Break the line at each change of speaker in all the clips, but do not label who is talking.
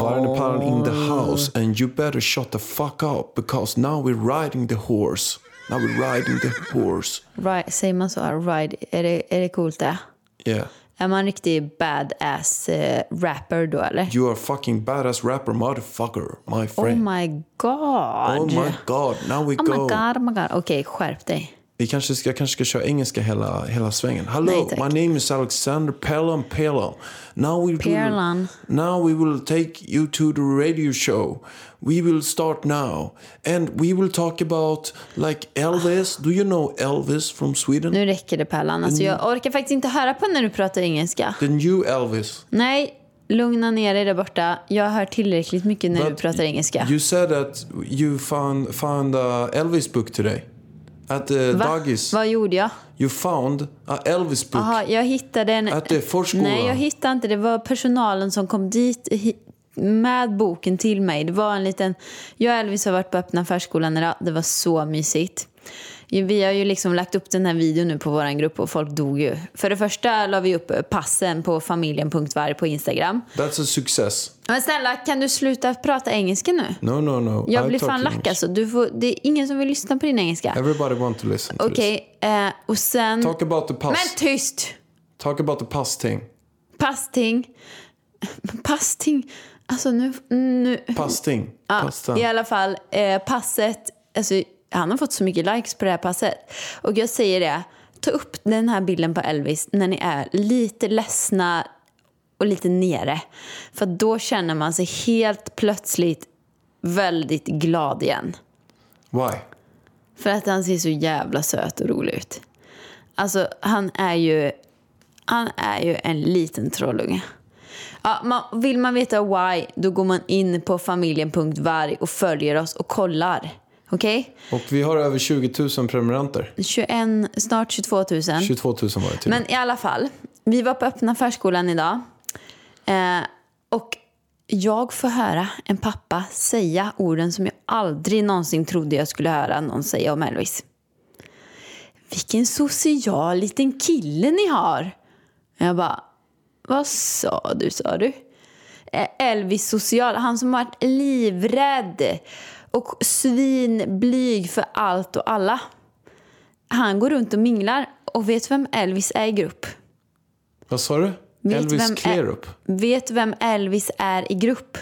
Vargen och Pallan in the house and you better shut the fuck up because now we're riding the horse. Now we're riding the horse.
Ri- säger man så? här, Ride, är det, är det coolt det?
Yeah.
Är man riktig badass eh, rapper då eller?
You are fucking badass rapper motherfucker, my
oh
friend.
my god.
Oh my god, now we
Oh my
go.
god, oh my god. Okej, skärp dig.
Vi kanske ska, jag kanske ska köra engelska hela, hela svängen. Hello,
Nej, tack.
my name is Alexander Pelham Pelham. Now we
Pelham.
Will, now we will take you to the radio show. We will start now. And we will talk about like Elvis. Do you know Elvis from Sweden?
Nu räcker det Pärlan. Alltså, jag orkar faktiskt inte höra på när du pratar engelska.
The new Elvis.
Nej, lugna ner dig där borta. Jag hör tillräckligt mycket när du pratar engelska.
You said that you found, found a Elvis book today. At the
Va?
dagis.
Vad gjorde jag?
You found a Elvis book.
Jaha, jag hittade en...
Att det är förskola.
Nej, jag hittade inte. Det var personalen som kom dit hi- med boken till mig. Det var en liten... Jag och Elvis har varit på öppna förskolan idag. Det var så mysigt. Ju- Vi har ju liksom lagt upp den här videon nu på vår grupp och folk dog ju. För det första la vi upp eh, passen på familjen.varg på Instagram.
That's a success.
Men snälla, kan du sluta prata engelska nu?
No, no, no.
Jag
I
blir
talk
fan lack
English.
alltså. Du får, det är ingen som vill lyssna på din engelska.
Everybody want to listen to this.
Okej, eh, och sen...
Talk about the
Men
past.
tyst!
Talk about the past thing.
Pasting. Pasting. Alltså nu... nu.
Pasting.
Ja,
Pastan.
I alla fall, eh, passet. Alltså, han har fått så mycket likes på det här passet. Och jag säger det, ta upp den här bilden på Elvis när ni är lite ledsna och lite nere. För då känner man sig helt plötsligt väldigt glad igen.
Why?
För att han ser så jävla söt och rolig ut. Alltså, han är ju, han är ju en liten trollunge. Ja, man, vill man veta why, då går man in på familjen.varg och följer oss och kollar. Okej?
Och vi har över 20 000 prenumeranter.
21, snart 22 000.
22 000 var det till.
Mm. Men i alla fall, vi var på öppna förskolan idag. Eh, och jag får höra en pappa säga orden som jag aldrig någonsin trodde jag skulle höra någon säga om Elvis. Vilken social liten kille ni har. Jag bara, vad sa du, sa du? Eh, Elvis social, han som varit livrädd och svinblyg för allt och alla. Han går runt och minglar. Och vet vem Elvis är i grupp?
Vad sa du?
Vet
Elvis
vem är-
Clearup.
Vet vem Elvis är i grupp?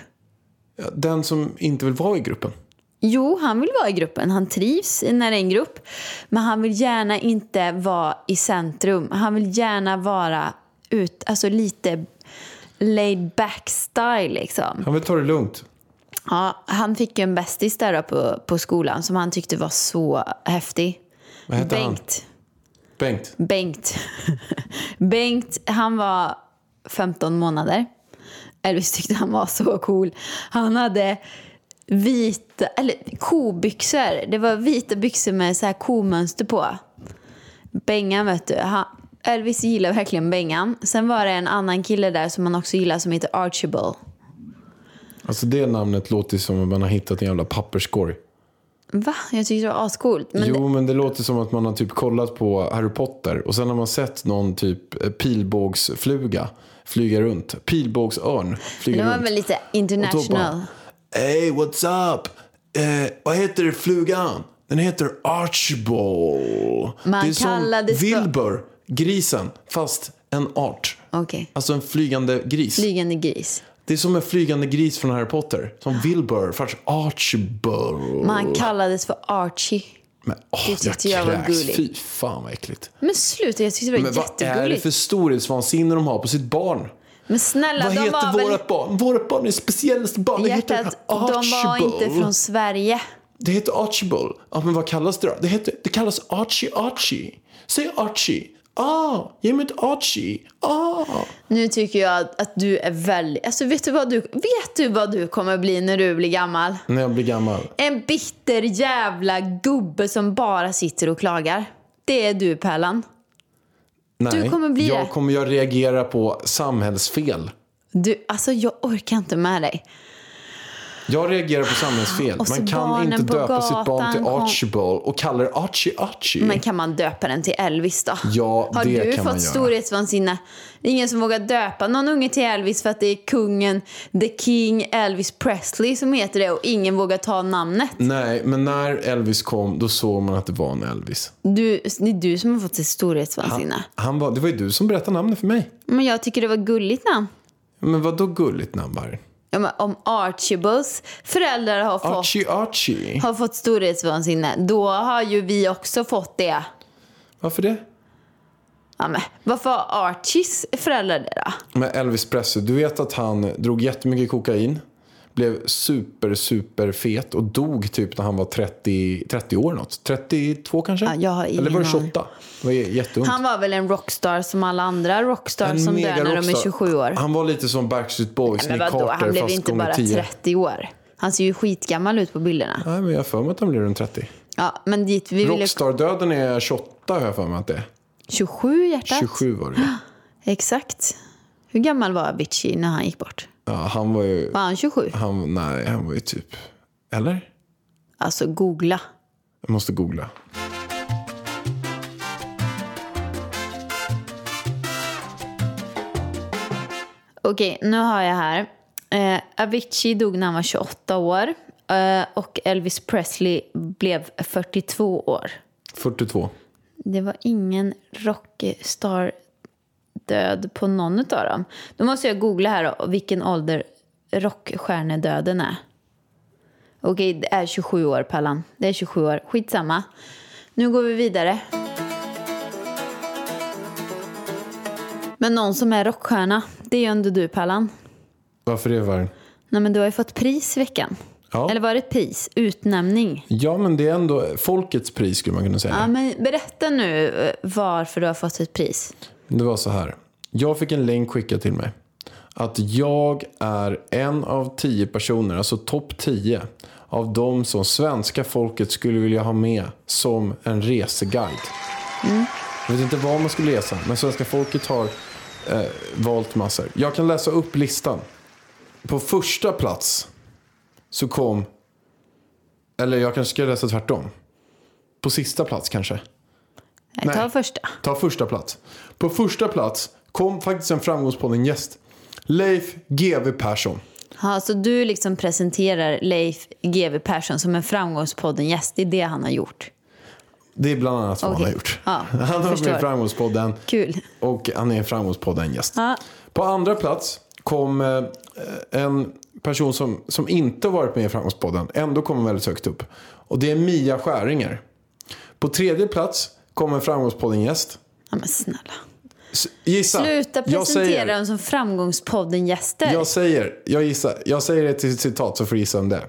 Ja, Den som inte vill vara i gruppen.
Jo, han vill vara i gruppen. Han trivs när det är en grupp. Men han vill gärna inte vara i centrum. Han vill gärna vara ut, alltså lite laid back style liksom.
Han vill ta det lugnt.
Ja, han fick ju en bästis där då på, på skolan som han tyckte var så häftig.
Vad heter han?
Bengt.
Bengt.
Bengt. Bengt, han var 15 månader. Elvis tyckte han var så cool. Han hade vita, eller kobyxor. Det var vita byxor med så här komönster på. Bengan vet du. Han, Elvis gillar verkligen Bengan. Sen var det en annan kille där som han också gillar som heter Archibald.
Alltså det namnet låter som att man har hittat en jävla papperskorg.
Va? Jag tyckte det var ascoolt. Men
jo, men det låter som att man har typ kollat på Harry Potter och sen har man sett någon typ eh, pilbågsfluga flyga runt. Pilbågsörn
det,
flyga
det var
runt.
väl lite
Och då
international.
bara, Hey, what's up? Eh, vad heter flugan? Den heter Archibald.
Man
det är som
kallades då-
Wilbur. Grisen, fast en art.
Okej.
Alltså en flygande gris.
Flygande gris.
det är som en flygande gris från Harry Potter. Som Wilbur, fast Archibald.
Men han kallades för Archie.
Men åh,
Det tyckte jag var
kräks.
gulligt.
Fy fan vad äckligt.
Men sluta, jag tyckte det var
Men vad är det
jättegulligt.
för storhetsvansinne de har på sitt barn?
Men snälla,
vad
de
heter
var väl...
vårt barn? Vårt barn är speciellt barn. Det heter
Hjärtat, de var inte från Sverige.
Det heter Archibald. Ja, men vad kallas det då? Det, heter, det kallas Archie Archie. Säg Archie. Ah, ge mig ett Archie. Ah.
Nu tycker jag att, att du är väldigt... Alltså vet du, vad du, vet du vad du kommer bli när du blir gammal?
När jag blir gammal.
En bitter jävla gubbe som bara sitter och klagar. Det är du Pärlan.
Nej,
kommer bli
jag
det.
kommer jag reagera på samhällsfel.
Du, alltså jag orkar inte med dig.
Jag reagerar på samhällsfel.
Och så
Man kan
barnen
inte
på
döpa sitt barn
gatan
till
kom-
Archibald och kalla det Archie Archie.
Men kan man döpa den till Elvis då?
Mm. Ja,
Har
det
du
kan man
fått
göra.
storhetsvansinne? Det är ingen som vågar döpa någon unge till Elvis för att det är kungen, the king, Elvis Presley som heter det och ingen vågar ta namnet.
Nej, men när Elvis kom då såg man att det var en Elvis.
Du, det är du som har fått sitt storhetsvansinne.
Han var, det var ju du som berättade namnet för mig.
Men jag tycker det var gulligt namn.
Men vad då gulligt namn var det?
Ja, men Om Archibalds föräldrar har fått,
Archie Archie.
har fått storhetsvansinne, då har ju vi också fått det.
Varför det?
Ja, men, varför har Archies föräldrar det då?
Med Elvis Presley, du vet att han drog jättemycket kokain. Blev super, super fet och dog typ när han var 30, 30 år något. 32 kanske?
Ja, jag har ingen
Eller var det
aning.
28? Det var jätteont.
Han var väl en rockstar som alla andra rockstar som dör när de är 27 år.
Han var lite som Backstreet Boys,
Men
Nick
vadå,
Carter
han blev
fast
inte
gånger
bara
10.
30 år. Han ser ju skitgammal ut på bilderna.
Nej, men jag har för mig att han blev runt 30.
Ja, men dit vi ville...
Rockstar-döden är 28 har jag för mig att det är.
27 hjärtat?
27 var det ju.
Exakt. Hur gammal var Avicii när han gick bort?
ja, Han var ju...
Var han 27?
Han, nej, han var ju typ... Eller?
Alltså googla.
Jag måste googla.
Okej, nu har jag här. Eh, Avicii dog när han var 28 år. Eh, och Elvis Presley blev 42 år.
42.
Det var ingen rockstar-död på någon av dem. Då måste jag googla här då, vilken ålder rockstjärnedöden är. Okej, det är 27 år, Pallan. Det är 27 år. Skitsamma. Nu går vi vidare. Men någon som är rockstjärna, det är ju ändå du, Pallan.
Varför det var
Nej, men du har ju fått pris i veckan.
Ja.
Eller var det pris? Utnämning.
ja, men det är ändå folkets pris skulle man kunna säga.
Ja, men berätta nu eh, varför du har fått ett pris.
Det var så här. Jag fick en länk skickad till mig. Att jag är en av tio personer, alltså topp 10 av de som svenska folket skulle vilja ha med som en reseguide. Jag vet inte var man skulle resa, men svenska folket har eh, valt massor. Jag kan läsa upp listan. På första plats så kom... Eller jag kanske ska läsa tvärtom. På sista plats kanske.
Nej, ta
Nej.
första.
Ta första plats. På första plats kom faktiskt en framgångspodden gäst. Leif GW Persson.
Ja, så du liksom presenterar Leif GW Persson som en framgångspodden-gäst. Det är det han har gjort.
Det är bland annat vad han
Okej.
har gjort.
Ja,
han har varit med
förstår.
i framgångspodden
Kul.
och han är en framgångspodden gäst.
Ja.
På andra plats kom eh, en person som, som inte varit med i framgångspodden. Ändå kommer väldigt högt upp. Och det är Mia Skäringer. På tredje plats kom en framgångspodden gäst.
Ja, men snälla.
Gissa.
Sluta
Jag säger-
presentera dem som framgångspodden-gäster.
Jag säger, jag gissar, jag säger ett citat så får du gissa om det är.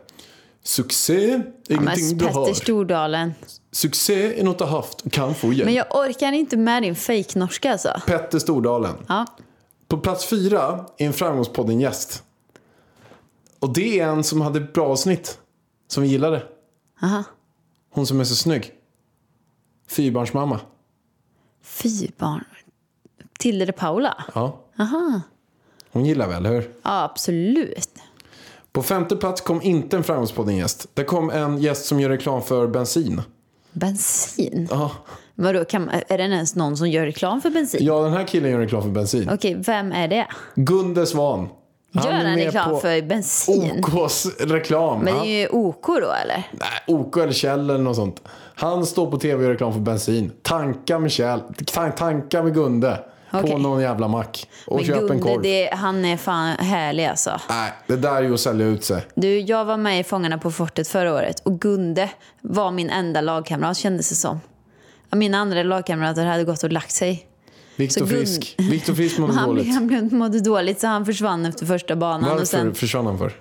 Succé är
men
ingenting du
Petter
har.
Stordalen.
Succé är något du har haft och kan få igen.
Men jag orkar inte med din fejknorska alltså.
Petter Stordalen.
Ja.
På plats fyra är en framgångspodden-gäst. Och det är en som hade ett bra avsnitt. Som vi gillade.
Aha.
Hon som är så snygg. Fyrbarnsmamma.
Fy barn. Tilde de Paula? Ja,
Ja. Hon gillar väl, eller hur?
absolut.
På femte plats kom inte en framgångspodden-gäst. Där kom en gäst som gör reklam för bensin.
Bensin?
Ja.
Vadå, kan, är det ens någon som gör reklam för bensin?
Ja, den här killen gör reklam för bensin.
Okej, vem är det?
Gunde Svan. Han är
Göran
med
reklam
på
för bensin.
OKs reklam.
Men det
Han-
är ju OK då eller?
Nej, OK eller Kjell eller något sånt. Han står på tv och gör reklam för bensin. Tanka med Kjell. Tan- tanka med Gunde. På
Okej.
någon jävla mack. Och
Men
köp en
Gunde,
korv.
det, han är fan härlig alltså.
Nej, det där är ju att sälja ut sig.
Du, jag var med i Fångarna på fortet förra året och Gunde var min enda lagkamrat kändes det som. Mina andra lagkamrater hade gått och lagt sig.
Viktor
Så Gun-
Frisk. Viktor Frisk mådde
han,
dåligt.
Han blev- mådde dåligt så han försvann efter första banan.
Varför
Och sen,
försvann han för?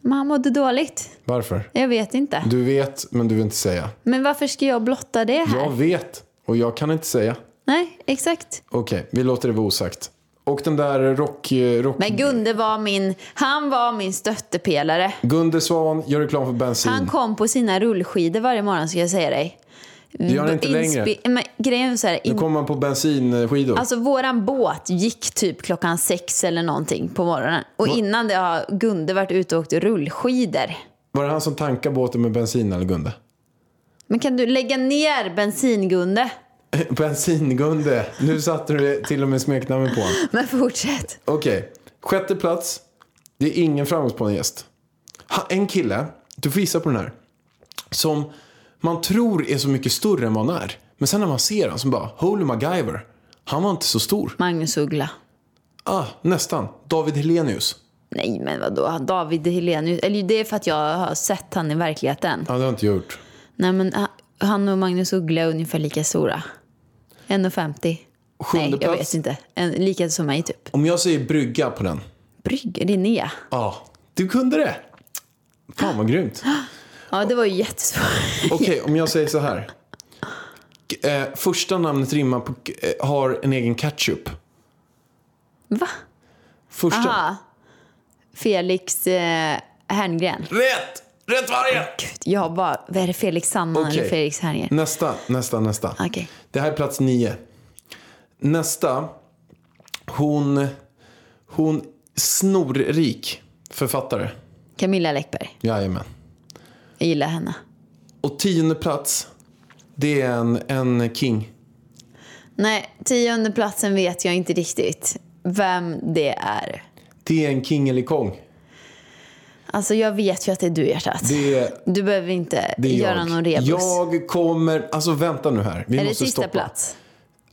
men han mådde dåligt.
Varför?
Jag vet inte.
Du vet, men du vill inte säga.
Men varför ska jag blotta det här?
Jag vet, och jag kan inte säga.
Nej, exakt.
Okej, vi låter det vara osagt. Och den där rock... rock...
Men Gunde var min, han var min stöttepelare.
Gunde Svan gör reklam för bensin.
Han kom på sina rullskidor varje morgon ska jag säga dig.
Det gör han inte längre.
Inspi- Men grejen är så här,
Nu
in-
kommer han på bensinskidor.
alltså våran båt gick typ klockan sex eller någonting på morgonen. Och innan det har Gunde varit ute och åkt rullskidor.
Var det han som tankade båten med bensin eller Gunde?
Men kan du lägga ner bensin Gunde?
Bensin-Gunde. Nu satte du det- till och med smeknamnet på honom.
Men fortsätt.
Okej, sjätte plats. Det är ingen framgångspån gäst. Ha- En kille, du får gissa på den här, som man tror är så mycket större än vad han är. Men sen när man ser honom så bara, holy MacGyver. Han var inte så stor.
Magnus Uggla.
Ah, nästan. David Helenius.
Nej men vadå, David Helenius. Eller det är för att jag har sett han i verkligheten.
Ja, det har jag inte gjort.
Nej men ha- han och Magnus Uggla är ungefär lika stora. 1,50.
Sjunde
Nej, jag
plats.
vet inte. En, lika som mig typ.
Om jag säger brygga på den.
Brygg, Linnea.
Ja, du kunde det. Fan vad grymt.
Ja, det var ju jättesvårt.
Okej, om jag säger så här. K- Eh, första namnet rimmar på, k- eh, har en egen ketchup.
Va?
Första.
Aha. Felix eh, Herngren.
Rätt! Rätt varje!
Gud, jag bara, vad är det Felix Sandman eller
Okej.
Felix Herngren?
Nästa, nästa, nästa.
Okej.
Det här är plats nio. Nästa. Hon, hon snorrik författare.
Camilla Läckberg.
Jajamän.
Jag gillar henne.
Och tionde plats. Det är en, en king.
Nej, tionde platsen vet jag inte riktigt vem det är.
Det är en king eller kong.
Alltså jag vet ju att det är du hjärtat.
Det är,
Du behöver inte
det är
göra
jag.
någon rebus.
Jag kommer... Alltså vänta nu här. Vi
är det
måste
sista
stoppa.
plats?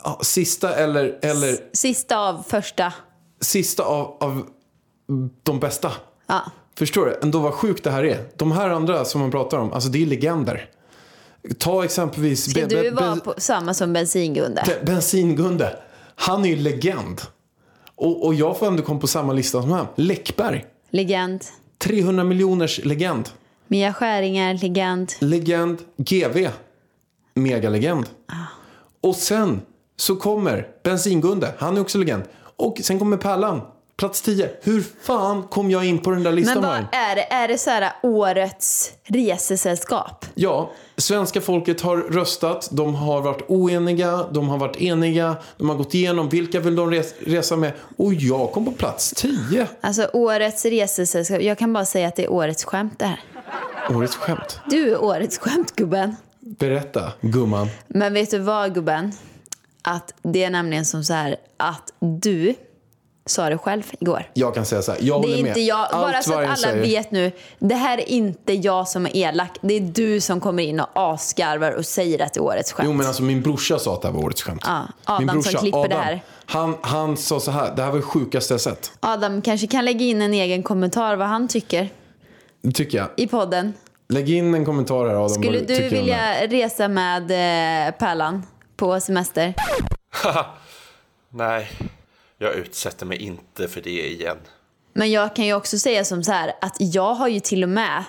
Ja, sista eller, eller
Sista av första.
sista av, av de bästa.
Ja.
Förstår du? Ändå vad sjukt det här är. De här andra som man pratar om, alltså det är legender. Ta exempelvis
Ska
be-
du
be-
vara
be-
på, samma som Bensingunde?
be- Bensin-Gunde. Han är ju legend. Och, och jag får ändå komma på samma lista som han. Läckberg.
Legend.
300 miljoners legend.
Mia Skäringer, legend.
Legend. GV. Megalegend.
Ah.
Och sen så kommer Bensin-Gunde. Han är också legend. Och sen kommer Pärlan. Plats 10. Hur fan kom jag in på den där listan?
Men
Maren?
vad är det? Är det så här årets resesällskap?
Ja, svenska folket har röstat, de har varit oeniga, de har varit eniga, de har gått igenom vilka vill de res- resa med och jag kom på plats 10.
Alltså årets resesällskap. Jag kan bara säga att det är årets skämt det här.
Årets skämt.
Du är årets skämt gubben.
Berätta, gumman.
Men vet du vad gubben? Att det är nämligen som så här att du sa det själv igår.
Jag kan säga så här, jag
Det
håller
är
med.
inte jag. Bara
Allt
så att
vargen
alla
säger-
vet nu. Det här är inte jag som är elak. Det är du som kommer in och asgarvar och säger att det är årets skämt.
Jo men alltså min brorsa sa att det här var årets skämt.
Ja, Adam som klipper det här.
Han, han sa så här, det här var det sjukaste jag sett.
Adam kanske kan lägga in en egen kommentar vad han tycker
Det tycker jag.
i podden.
Lägg in en kommentar här Adam.
Skulle
vad tycker
du
om det här.
vilja resa med eh, Pärlan på semester?
Nej, jag utsätter mig inte för det igen.
Men jag kan ju också säga som så här att jag har ju till och med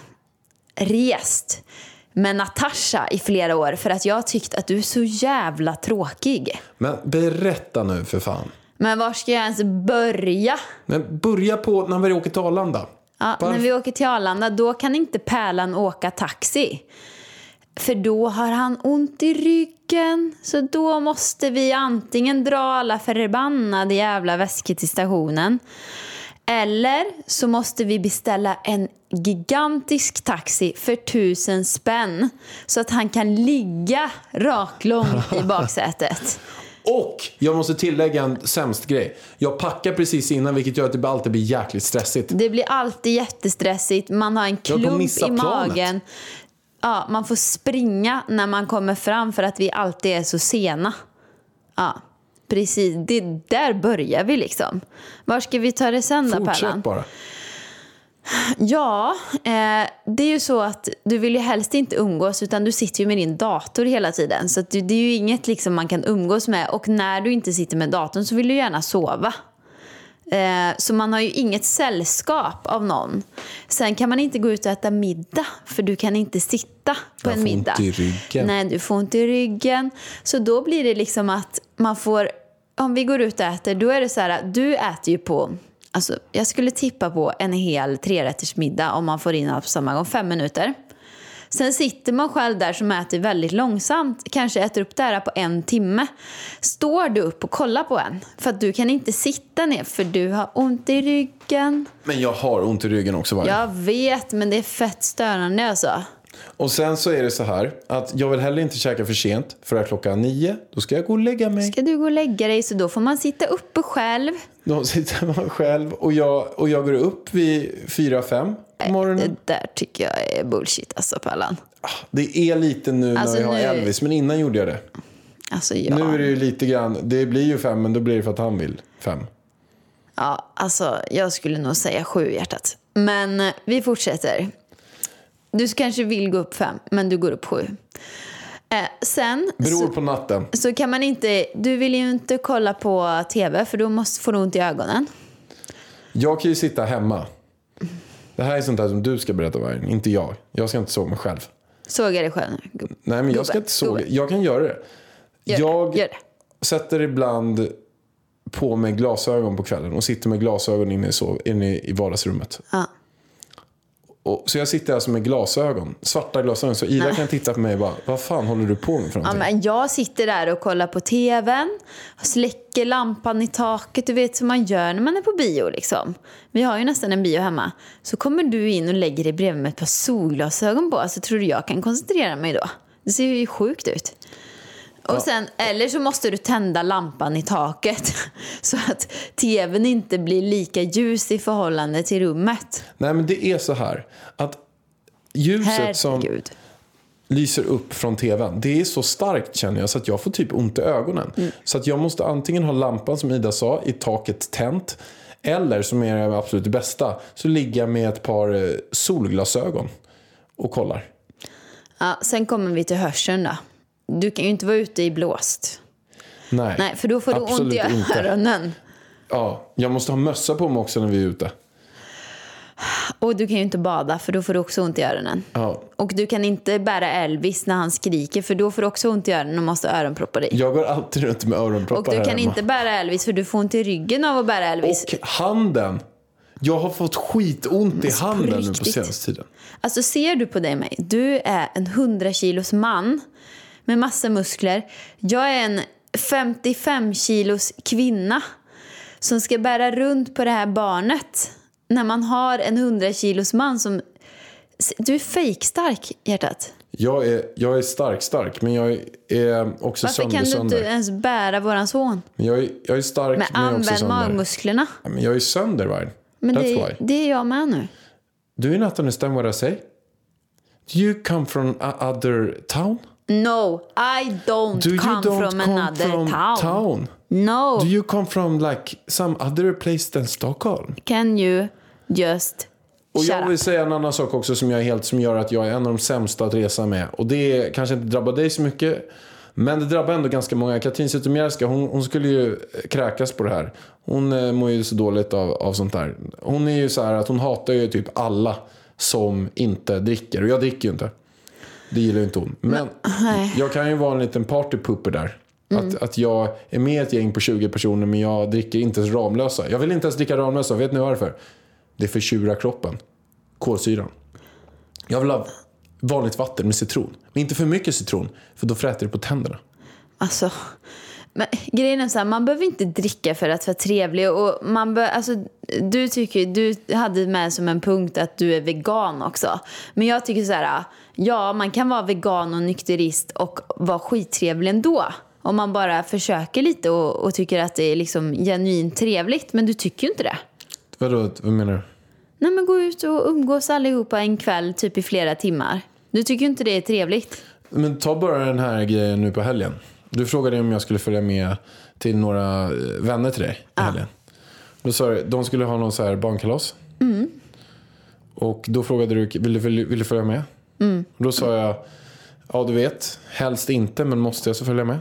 rest med Natasha i flera år för att jag har tyckt att du är så jävla tråkig.
Men berätta nu för fan.
Men var ska jag ens börja?
Men börja på när vi åker till Arlanda.
Ja,
Varför-
när vi åker till Arlanda då kan inte Pärlan åka taxi. För då har han ont i ryggen. Så då måste vi antingen dra alla förbannade jävla väskor till stationen. Eller så måste vi beställa en gigantisk taxi för tusen spänn. Så att han kan ligga raklång i baksätet.
Och jag måste tillägga en sämst grej. Jag packar precis innan vilket gör att det alltid blir jäkligt stressigt.
Det blir alltid jättestressigt, man har en
Jag höll på att
klump
missa
i
planet.
magen. Ja, man får springa när man kommer fram för att vi alltid är så sena. Ja, precis. Det, där börjar vi liksom. Var ska vi ta det sen då, Pärlan?
Fortsätt bara.
Ja, eh, det är ju så att du vill ju helst inte umgås utan du sitter ju med din dator hela tiden. Så att du, det är ju inget liksom man kan umgås med och när du inte sitter med datorn så vill du gärna sova. Eh, så man har ju inget sällskap av någon. Sen kan man inte gå ut och äta middag för du kan inte sitta på
Jag
en
får
middag.
ont i ryggen.
Nej, du får ont i ryggen. Så då blir det liksom att man får, om vi går ut och äter, då är det så här att du äter ju på, alltså jag skulle tippa på en hel trerättersmiddag om man får in allt på samma gång, fem minuter. Sen sitter man själv där som äter väldigt långsamt, kanske äter upp det här på en timme. Står du upp och kollar på en? För att du kan inte sitta ner för du har ont i ryggen.
Men jag har ont i ryggen också varje
Jag vet, men det är fett störande alltså.
Och sen så är det så här att jag vill heller inte käka för sent för att klockan nio då ska jag gå och lägga mig.
Ska du gå och lägga dig så då får man sitta uppe själv.
Då sitter man själv och jag, och jag går upp vid fyra, fem på morgonen.
Det där tycker jag är bullshit alltså Pallan.
Det är lite nu
Alltså,
när jag har
nu-
Elvis men innan gjorde jag det.
Alltså ja.
Nu är det ju lite grann, det blir ju fem men då blir det för att han vill fem.
ja alltså, jag skulle nog säga sju i hjärtat. Men eh, vi fortsätter. Du kanske vill gå upp fem, men du går upp sju. Eh, sen
Beror
så,
på natten.
så kan man inte, du vill ju inte kolla på tv för då måste, får du ont i ögonen.
Jag kan ju sitta hemma. Det här är sånt där som du ska berätta varje, inte jag. Jag ska inte såga mig själv.
Såg jag dig själv nu? gubb-
Nej men jag ska
Gubbe,
inte såga,
gubbe.
jag kan göra det.
Gör
jag
det, gör det.
sätter ibland på mig glasögon på kvällen och sitter med glasögon inne i, sov, inne i vardagsrummet.
Ja.
Och, så jag sitter alltså med glasögon, svarta glasögon. Så Ida kan titta på mig och bara, vad fan håller du på med för
Ja,
någonting?
men jag sitter där och kollar på tvn, släcker lampan i taket, du vet som man gör när man är på bio liksom. Vi har ju nästan en bio hemma. Så kommer du in och lägger dig bredvid med ett par solglasögon på, så tror du jag kan koncentrera mig då? Det ser ju sjukt ut. Och sen, eller så måste du tända lampan i taket så att tvn inte blir lika ljus i förhållande till rummet.
Nej men det är så här att ljuset som
Herregud.
lyser upp från tvn, det är så starkt känner jag så att jag får typ ont i ögonen.
Mm.
Så att jag måste antingen ha lampan som Ida sa i taket tänt eller som är det absolut bästa så ligger jag med ett par eh, solglasögon och kollar.
Ja, sen kommer vi till hörseln då. Du kan ju inte vara ute i blåst.
Nej,
Nej, för då får du
absolut
ont i
inte.
öronen.
Ja, jag måste ha mössa på mig också när vi är ute.
Och du kan ju inte bada för då får du också ont i öronen.
Ja.
Och du kan inte bära Elvis när han skriker för då får du också ont i öronen och måste ha öronproppar i.
Jag går alltid runt med öronproppar
Och du
här
kan
hemma.
inte bära Elvis för du får ont i ryggen av att bära Elvis.
Och handen! Jag har fått skitont i handen nu på
Alltså, riktigt.
senaste tiden.
Alltså ser du på dig och mig, du är en 100 kilos man med massa muskler. Jag är en 55 kilos kvinna som ska bära runt på det här barnet när man har en 100 kilos man som... Du är fejkstark, hjärtat.
Jag är, jag är stark, stark, men jag är också
Varför
sönder,
kan du inte
sönder.
ens bära våran son?
Men Jag, är, jag är stark,
Men
men, jag är också
använd
sönder.
magmusklerna.
Ja, Men jag är sönder, Varg.
Men
That's
det,
why.
det är jag med nu.
Do you not understand what I say? Do you come from a other town?
No, I don't
Do you
come
don't
from
come
another
from
town. Oh.
town?
No,
Do you come from like some other place than Stockholm?
can you just
Och
shut
jag vill
up?
säga en annan sak också som, jag är helt, som gör att jag är en av de sämsta att resa med. Och det kanske inte drabbar dig så mycket. Men det drabbar ändå ganska många. Katrin Zytomierska, hon, hon skulle ju eh, kräkas på det här. Hon eh, mår ju så dåligt av, av sånt där. Hon är ju så här att hon hatar ju typ alla som inte dricker. Och jag dricker ju inte. Det gillar ju inte hon. Men jag kan ju vara en liten partypooper där. Att, att jag är med i ett gäng på 20 personer men jag dricker inte ens Ramlösa. Jag vill inte ens dricka Ramlösa. Vet ni varför? Det förtjurar kroppen. Kolsyran. Jag vill ha vanligt vatten med citron. Men inte för mycket citron, för då fräter det på tänderna.
Alltså, men grejen är så här, man behöver inte dricka för att vara trevlig. Och man bör, alltså, du, tycker, ju- du hade med som en punkt att du är vegan också. Men jag tycker så här, ja man kan vara vegan och nykterist och vara skittrevlig ändå. Om man bara försöker lite och, och tycker att det är liksom genuint trevligt, men du tycker ju inte det.
Vadå, vad menar du?
Nej men gå ut och umgås allihopa en kväll, typ i flera timmar. Du tycker ju inte det är trevligt.
Men ta bara den här grejen nu på helgen. Du frågade om jag skulle följa med till några eh, vänner till dig i helgen. Då sa du, de skulle ha någon så här barnkalas.
Mm.
Och då frågade du, vill du, vill, vill du följa med?
Mm.
Och då sa jag, ja du vet, helst inte men måste jag så följa med.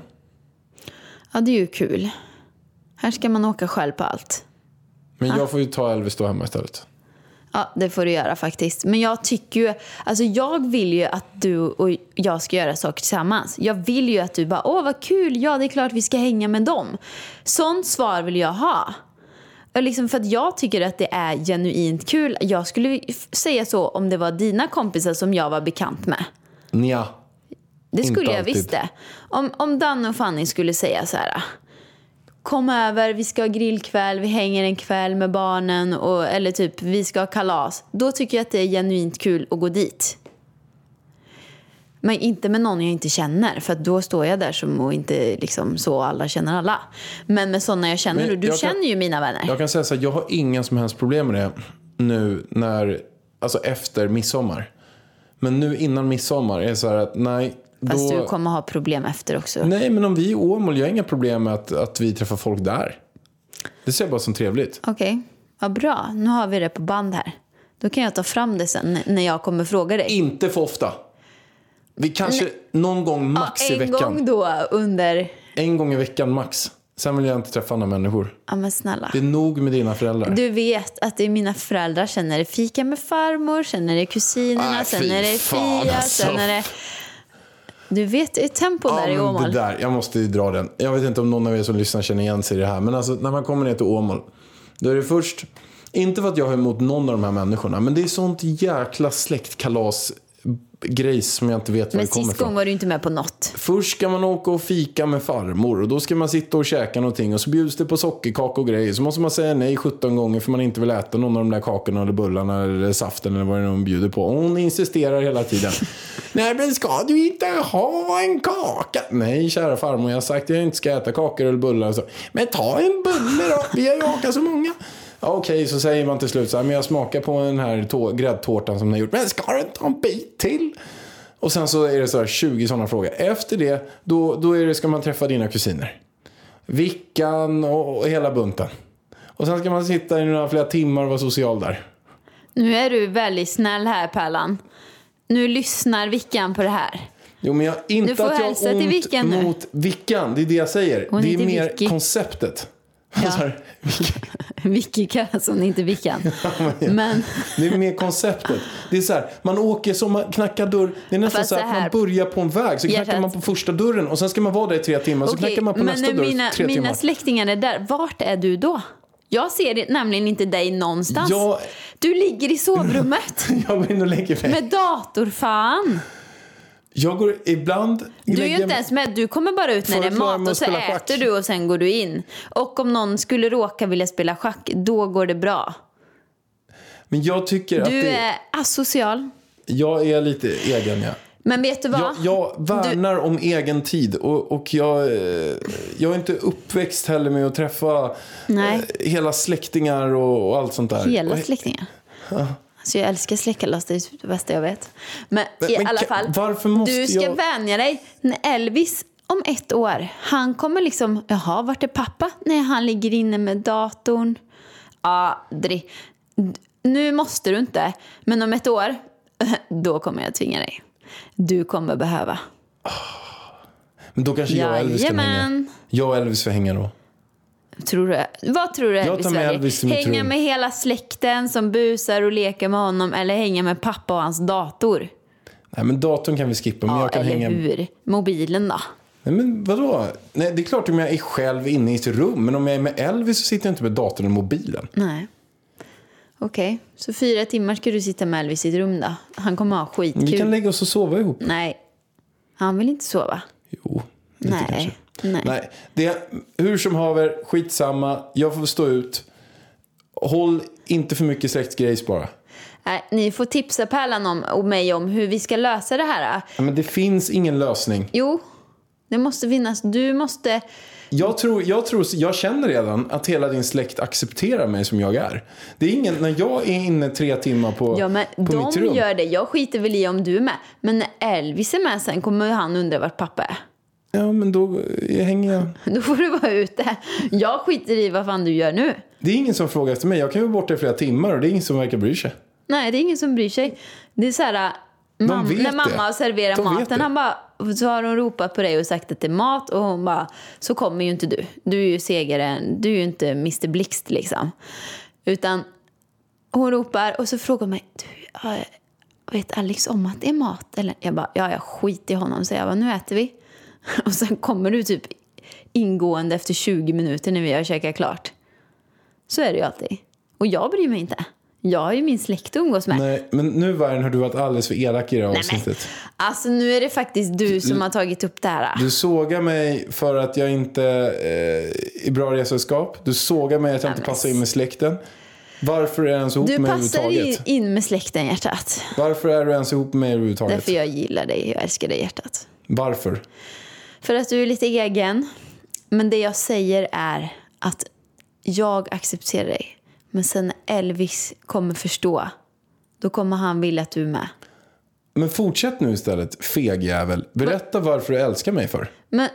Ja, det är ju kul. Här ska man åka själv på allt.
Men jag får ju ta Elvis då hemma istället.
Ja, det får du göra faktiskt. Men jag tycker ju, alltså jag vill ju att du och jag ska göra saker tillsammans. Jag vill ju att du bara, åh vad kul, ja det är klart vi ska hänga med dem. Sånt svar vill jag ha. Och Liksom för att jag tycker att det är genuint kul. Jag skulle f- säga så om det var dina kompisar som jag var bekant med.
Nja,
Det
Inte
skulle jag
alltid.
visst det. Om, om Dan och Fanny skulle säga så här. Kom över, vi ska ha grillkväll, vi hänger en kväll med barnen och, eller typ vi ska ha kalas. Då tycker jag att det är genuint kul att gå dit. Men inte med någon jag inte känner för att då står jag där som och inte liksom så alla känner alla. Men med sådana jag känner,
Men
du, du
jag kan-
känner ju mina vänner.
jag kan säga så här, jag har inga som helst problem med det nu när, alltså efter midsommar. Men nu innan midsommar är det så här att nej.
Fast
då...
du kommer ha problem efter också.
Nej, men om vi är i Åmål, jag har inga problem med att, att vi träffar folk där. Det ser jag bara som trevligt.
Okej, vad bra. Nu har vi det på band här. Då kan jag ta fram det sen när jag kommer fråga dig.
Inte för ofta. Vi kanske någon gång max i
en
veckan.
gång då under...
En gång i veckan max. Sen vill jag inte träffa andra människor.
Ja men snälla.
Det är nog med dina föräldrar.
Du vet att det är mina föräldrar. Sen är det fika med farmor, sen är det kusinerna,
Nej,
sen
fy
är det
fan,
Fia,
alltså.
sen är det... Du vet, det är tempo där i
men det
Åmål.
där, jag måste ju dra den. Jag vet inte om någon av er som lyssnar känner igen sig i det här. Men alltså, när man kommer ner till Åmål. Då är det först, inte för att jag har emot någon av de här människorna. Men det är sånt jäkla släktkalas grejs som jag inte vet var
Men
det kommer
sist
ifrån.
gång var du inte med på något.
Först ska man åka och fika med farmor och då ska man sitta och käka någonting och så bjuds det på sockerkaka och grejer. Så måste man säga nej 17 gånger för man inte vill äta någon av de där kakorna eller bullarna eller saften eller vad det nu är hon bjuder på. Och hon insisterar hela tiden. nej men ska du inte ha en kaka? Nej kära farmor, jag har sagt att jag inte ska äta kakor eller bullar. och Så, men ta en bulle då, vi har ju åkat så många. Ja, Okej, så säger man till slut så här, men jag smakar på den här tå- gräddtårtan som ni har gjort. Men ska du inte ha en bit till? Och sen så är det så här 20 sådana frågor. Efter det, då, då är det, ska man träffa dina kusiner. Vickan och, och hela bunten. Och sen ska man sitta i några flera timmar och vara social där.
Nu är du väldigt snäll här Pärlan. Nu lyssnar Vickan på det här.
Jo, men jag, inte
Du får
att jag
hälsa
har
till
ont
Vickan nu.
mot Vickan. Det är det jag säger.
Hon
det är
heter
mer
Vicky.
konceptet. Så här,
Vicky kallas hon, inte Vickan. Men...
det är mer konceptet. Det är så här, man åker som man knackar dörr. Det är nästan
Fast
så här,
så
att man
här-
börjar på en väg. Så knackar
Hjärtat.
man på första dörren och sen ska man vara där i tre timmar. så
Okej,
Alltså, knackar man på
men
nästa
när
dörr i
mina,
tre
mina
timmar.
släktingar är där, vart är du då? Jag ser det, nämligen inte dig någonstans.
Jag-
Du ligger i sovrummet
Jag går in och lägger mig.
med dator, fan.
Jag går ibland...
Du är
lägger-
ju inte ens med, du kommer bara ut när
Får
det är
jag klara mig
mat
och
och så
spela
äter
schack?
du och sen går du in. Och om någon skulle råka vilja spela schack, då går det bra.
Men jag tycker att
Du
det,
är asocial.
jag är lite egen. Ja.
Men vet du vad?
Jag, jag värnar om egen tid och, och jag, eh, jag är inte uppväxt heller med att träffa eh,
Nej.
hela släktingar och, och allt sånt där.
Hela
Och-
släktingar. Alltså jag älskar släktkalas, det är det bästa jag vet. Men,
Men-
i
men
alla
kan-
fall,
varför måste
du ska
jag-
vänja dig. När Elvis om ett år, han kommer liksom, jaha, vart är pappa? Nej, han ligger inne med datorn. Aldrig. D- Nu måste du inte, men om ett år, då kommer jag tvinga dig. Du kommer behöva.
Men då kanske jag och Elvis kan hänga.
Jajamän.
Jag och Elvis får hänga då.
Tror du, vad tror du
Jag
Elvis
tar med
väljer?
Elvis till mitt
Hänga
rum.
med hela släkten som busar och leker med honom eller hänga med pappa och hans dator?
Nej, men datorn kan vi skippa. Men
Ja,
jag kan
eller
hänga...
hur? Mobilen då?
Nej, men vadå? Nej, det är klart om jag är själv inne i ett rum. Men om jag är med Elvis så sitter jag inte med datorn och mobilen.
Nej. Okej, så fyra timmar ska du sitta med Elvis i ett rum då? Han kommer ha
Vi
skitkul.
kan lägga oss och sova ihop.
Nej, han vill inte sova.
Jo, lite
Nej,
kanske.
nej.
nej. Det, hur som haver, skitsamma. Jag får stå ut. Håll inte för mycket släktgrejs bara.
Nej, ni får tipsa Pärlan om, och mig om hur vi ska lösa det här.
Ja, Men det finns ingen lösning.
Jo, Det måste finnas. Du måste...
Jag tror, jag tror, jag känner redan att hela din släkt accepterar mig som jag är. Det är ingen, när jag är inne tre timmar på,
Ja, men
på
de
mitt rum.
gör det. Jag skiter väl i om du är med. Men när Elvis är med sen kommer ju han undra vart pappa är.
Ja, men då hänger jag.
Då får du vara ute. Jag skiter i vad fan du gör nu.
Det är ingen som frågar efter mig. Jag kan ju vara borta i flera timmar och det är ingen som verkar bry sig.
Nej, det är ingen som bryr sig. Det är så här, mam-
vet
när
det.
mamma har serverat
De vet
maten,
det.
han bara, så har hon ropat på dig och sagt att det är mat och hon bara, så kommer ju inte du. Du är ju segaren, du är ju inte Mr Blixt liksom. Utan hon ropar och så frågar hon mig, du, har- vet Alex om att det är mat? Eller? Jag bara, ja jag skit i honom, så jag bara, nu äter vi. Och sen kommer du typ ingående efter 20 minuter när vi har käkat klart. Så är det ju alltid. Och jag bryr mig inte. Jag har ju min släkt att umgås med.
Nej, men nu Vargen har du varit alldeles för elak i det här
Nej, men-
avsnittet.
Alltså nu är det faktiskt du som har tagit upp det här.
Du sågar mig för att jag inte eh, är bra resesällskap. Du sågar mig att jag inte
men-
passar in med släkten. Varför är du ens ihop
Du
med mig
passar ju
överhuvudtaget?
in med släkten hjärtat.
Varför är du ens ihop med mig överhuvudtaget?
Därför jag gillar dig och älskar dig hjärtat.
Varför?
För att du är lite egen. Men det jag säger är att jag accepterar dig. Men sen när Elvis kommer förstå, då kommer han vilja att du är med.
Men fortsätt nu istället, fegjävel. Berätta varför du älskar mig för.
Men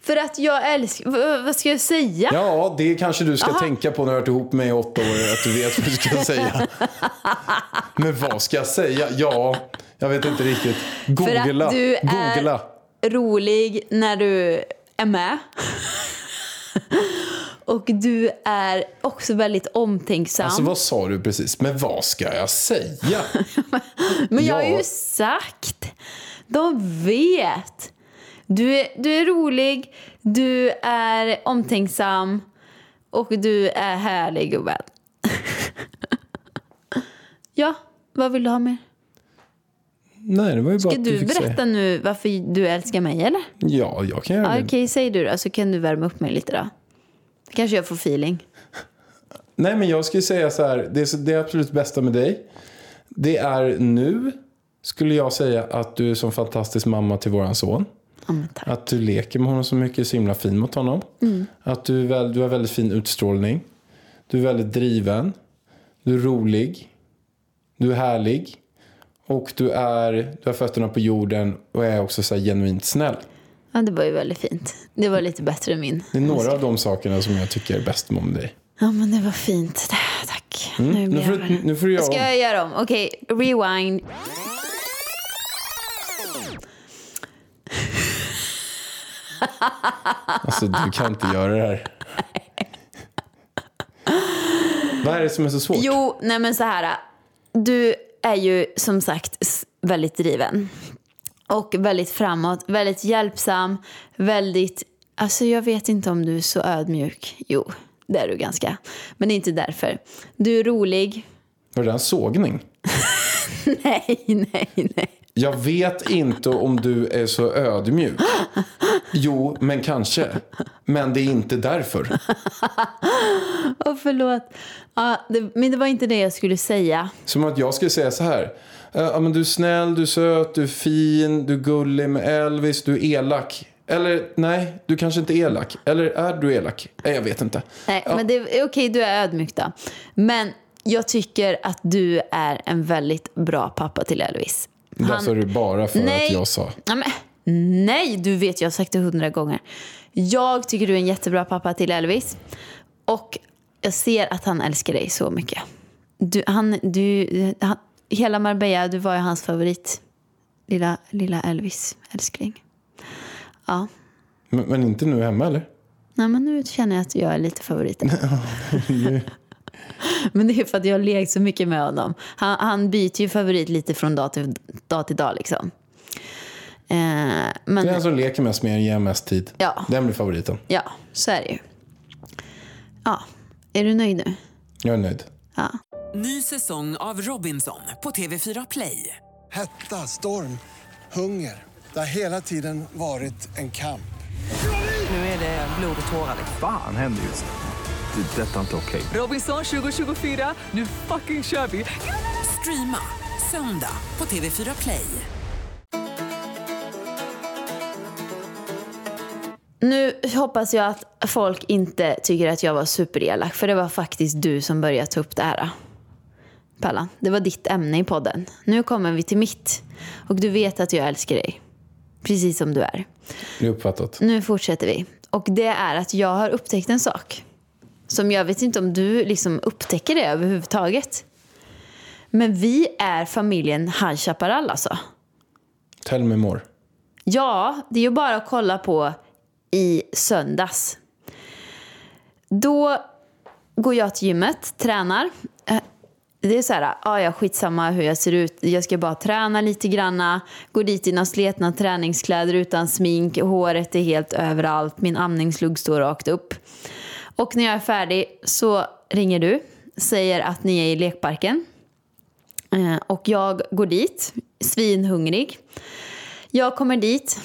för att jag älskar... v- Vad ska jag säga?
Ja, det kanske du ska tänka på när du har varit ihop med mig i åtta år, att du vet vad du ska säga. Men vad ska jag säga? Ja, jag vet inte riktigt.
För att
Googla.
du är
Googla.
rolig när du är med. Och du är också väldigt omtänksam.
Alltså vad sa du precis? Men vad ska jag säga?
Men jag har
ja.
ju sagt. De vet. Du är, du är rolig, du är omtänksam och du är härlig gubben. ja, vad vill du ha mer?
Nej, det var ju bara
Ska
att
du
fick säga.
berätta nu varför du älskar mig eller?
Ja, jag kan göra
Ja,
det.
Okej, säg du då, så kan du värma upp mig lite då. Kanske jag får feeling.
Nej, men jag skulle säga så här. Det, är så, det absolut bästa med dig, det är nu skulle jag säga att du är som fantastisk mamma till våran son.
Ja, men tack. Mm.
Att du leker med honom så mycket, är så himla fin mot honom. Att du, är väl, du har väldigt fin utstrålning. Du är väldigt driven. Du är rolig. Du är härlig. Och du, är, du har fötterna på jorden och är också så här genuint snäll.
Ja, det var ju väldigt fint. Det var lite bättre än min.
Det är några av de sakerna som jag tycker är bäst med dig.
Ja, men det var fint. Tack. Nu,
Mm. Nu
blir
får,
jag
du-
varm.
nu får du göra
Ska
om.
jag göra om? Okej, rewind.
Alltså du kan inte göra det här. Vad är det som är så svårt?
Jo, nej men så här. Du är ju som sagt s- väldigt driven. Och väldigt framåt, väldigt hjälpsam, väldigt... Alltså jag vet inte om du är så ödmjuk. Jo, det är du ganska. Men det är inte därför. Du är rolig.
Var det en sågning?
Nej, nej, nej.
Jag vet inte om du är så ödmjuk. Jo, men kanske. Men det är inte därför.
Åh, förlåt. Ja, det, men det var inte det jag skulle säga.
Som att jag skulle säga så här. Eh, Ja, men du är snäll, du är söt, du är fin, du är gullig med Elvis, du är elak. Eller nej, du kanske inte är elak. Eller är du elak? Nej, jag vet inte.
Nej,
Ja.
men det är okej, du är ödmjuk då. Men jag tycker att du är en väldigt bra pappa till Elvis.
Det där sa du bara för
Nej.
att jag sa.
Ja, men, nej, du vet, jag har sagt det hundra gånger. Jag tycker du är en jättebra pappa till Elvis. Och jag ser att han älskar dig så mycket. Du, han, du, han, hela Marbella, du var ju hans favorit. Lilla, lilla Elvis, älskling. Ja,
Men, men inte nu hemma eller?
nej, men nu känner jag att jag är lite favoriten. men det är för att jag har lekt så mycket med honom. Han, han byter ju favorit lite från dag till dag, till dag liksom. Eh, men,
Den som leker mest med en ger mest tid.
Ja.
Den blir favoriten.
Ja, så är det ju. Ja, är du nöjd nu?
Jag är nöjd.
Ny säsong av Robinson på TV4 Play.
Hetta, storm, hunger. Det har hela tiden varit en kamp.
Nu är det blod och tårar. liksom.
Fan händer just det. Det är detta inte okej.
Robinson 2024, nu fucking kör vi! Streama söndag på TV4 Play.
Nu hoppas jag att folk inte tycker att jag var superelak, för det var faktiskt du som började ta upp det här. Pallan, det var ditt ämne i podden. Nu kommer vi till mitt. Och du vet att jag älskar dig. Precis som du är.
Det är uppfattat.
Nu fortsätter vi. Och det är att jag har upptäckt en sak. Som jag vet inte om du liksom upptäcker det överhuvudtaget. Men vi är familjen High Chaparral alltså.
Tell me more.
Ja, det är ju bara att kolla på i söndags. Då går jag till gymmet, tränar. Eh, Det är så här, ah, ja skitsamma hur jag ser ut, jag ska bara träna lite granna. Går dit i några sletna träningskläder utan smink, håret är helt överallt, min amningslugg står rakt upp. Och när jag är färdig så ringer du, säger att ni är i lekparken. Eh, Och jag går dit, svinhungrig. Jag kommer dit.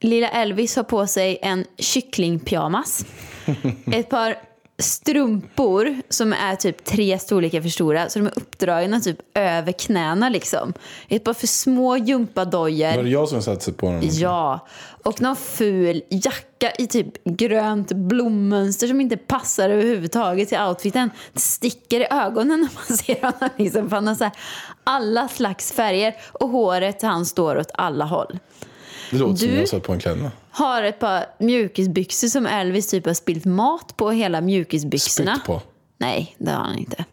Lilla Elvis har på sig en kycklingpyjamas. Ett par strumpor som är typ tre storlekar för stora. Så de är uppdragna typ över knäna liksom. Ett par för små
Var det
gympadojor.
jag som satsade på honom?
Ja. Och någon ful jacka i typ grönt blommönster som inte passar överhuvudtaget till outfiten. Det sticker i ögonen när man ser honom. Liksom. För han har så här alla slags färger och håret han står åt alla håll
Det låter som
Du-
jag satt på en klädnad.
har ett par mjukisbyxor som Elvis typ har spillt mat på hela mjukisbyxorna.
Spytt på.
Nej, det har han inte.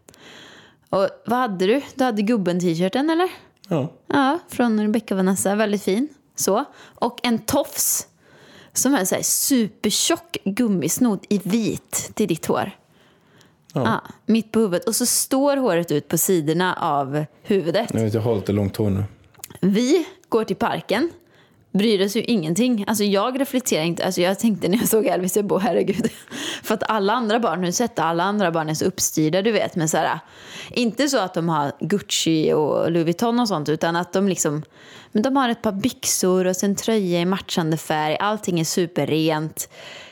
Och vad hade du? Du hade gubben-t-shirten eller?
Ja.
Ja, från Rebecca Vanessa. Väldigt fin. Så. Och en tofs som är en så här supertjock gummisnodd i vit till ditt hår. Ja. mitt på huvudet. Och så står håret ut på sidorna av huvudet.
Jag vet, jag har lite långt hår nu.
Vi går till parken, bryr oss ju ingenting. Alltså jag reflekterar inte. Alltså jag tänkte när jag såg Elvis, jag bara herregud. För att alla andra barn, nu sätter alla andra barn är så uppstyrda du vet. Men så här, inte så att de har Gucci och Louis Vuitton och sånt utan att de liksom, men de har ett par byxor och sen tröja i matchande färg. Allting är superrent.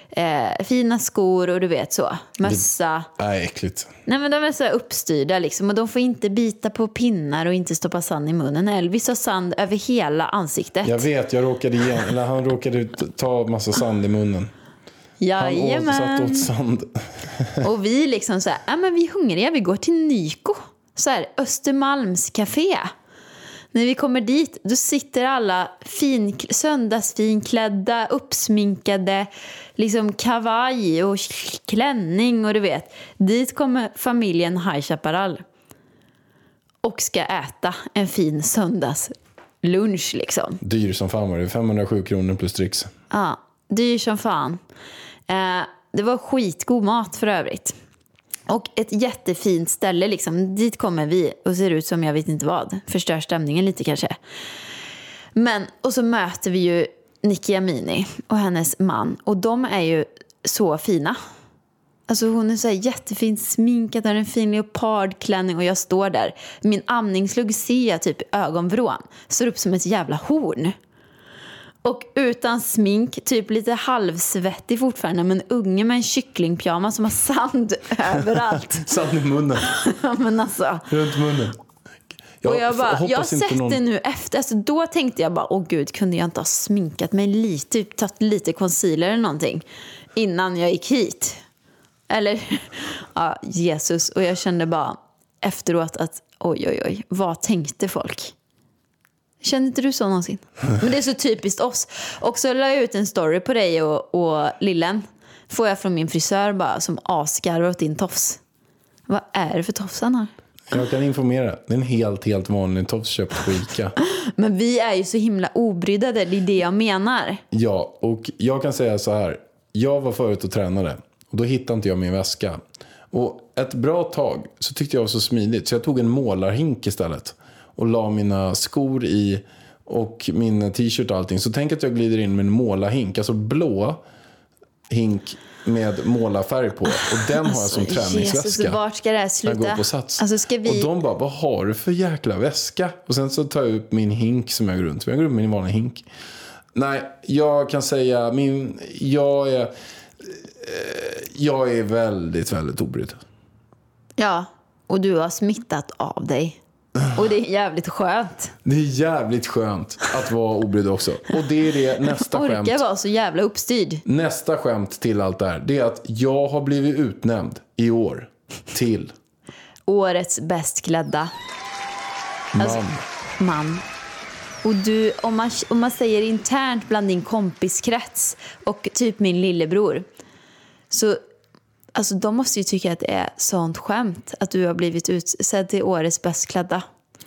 Eh, fina skor och du vet så. Mössa.
Nej, äckligt.
Nej men de är så här uppstyrda liksom och de får inte bita på pinnar och inte stoppa sand i munnen. Elvis har sand över hela ansiktet.
Jag vet, jag råkade igen, eller han råkade ut- ta massa sand i munnen. Han åt, satt
Jajamän.
åt sand.
Och vi liksom så här, ja men vi är hungriga, vi går till Nyko. Så här, Östermalms café. När vi kommer dit, då sitter alla fin, söndagsfinklädda, uppsminkade, liksom kavaj och klänning och du vet. Dit kommer familjen High Chaparral. Och ska äta en fin söndagslunch liksom.
Dyr som fan var det. 507 kronor plus dricks.
Ja, dyr som fan. Eh, det var skitgod mat för övrigt. Och ett jättefint ställe liksom. Dit kommer vi och ser ut som jag vet inte vad. Förstör stämningen lite kanske. Men, och så möter vi ju Nicki Amini och hennes man. Och de är ju så fina. Alltså hon är så här jättefint sminkad, har en fin leopardklänning och jag står där. Min amningslugg ser jag typ i ögonvrån. Står upp som ett jävla horn. Och utan smink, typ lite halvsvettig fortfarande, men unge med en kycklingpyjamas som har sand överallt.
Sand i munnen.
Ja, men alltså.
Runt munnen.
Och jag, bara,
hoppas
jag har
inte
sett
någon-
det nu efter. Alltså, då tänkte jag bara, åh gud, kunde jag inte ha sminkat mig lite, typ tagit lite concealer eller någonting innan jag gick hit? Eller, ja, Jesus. Och jag kände bara efteråt att, oj, oj, oj, vad tänkte folk? Kände inte du så någonsin? Men det är så typiskt oss. Och så la jag ut en story på dig och, och lillen. Får jag från min frisör bara som asgarvar åt din tofs. Vad är det för tofs han har?
Jag kan informera. Det är en helt, helt vanlig tofs köpt på Ica.
Men vi är ju så himla obryddade, det är det jag menar.
Ja, och jag kan säga så här. Jag var förut och tränade och då hittade inte jag min väska. Och ett bra tag så tyckte jag var så smidigt så jag tog en målarhink istället och la mina skor i och min t-shirt och allting. Så tänk att jag glider in med en målarhink, alltså blå hink med målarfärg på. Och den har jag som
Alltså, Jesus,
träningsväska.
och vart ska det här
Jag
sluta?
går på sats.
Alltså ska vi...
Och de bara, vad har du för jäkla väska? Och sen så tar jag upp min hink som jag går runt med. Jag går runt med min vanliga hink. Nej, jag kan säga, min, jag är... eh, Jag är väldigt, väldigt obrydd.
Ja, och du har smittat av dig. Och det är jävligt skönt.
Det är jävligt skönt att vara obrydd också. Och det är det nästa skämt.
Orka vara så jävla uppstyrd.
Nästa skämt till allt det här. Det är att jag har blivit utnämnd i år till
Årets bäst klädda Alltså,
man.
man. Och du, om man, om man säger internt bland din kompiskrets och typ min lillebror. Så alltså, de måste ju tycka att det är sånt skämt att du har blivit utsedd till årets bäst klädda.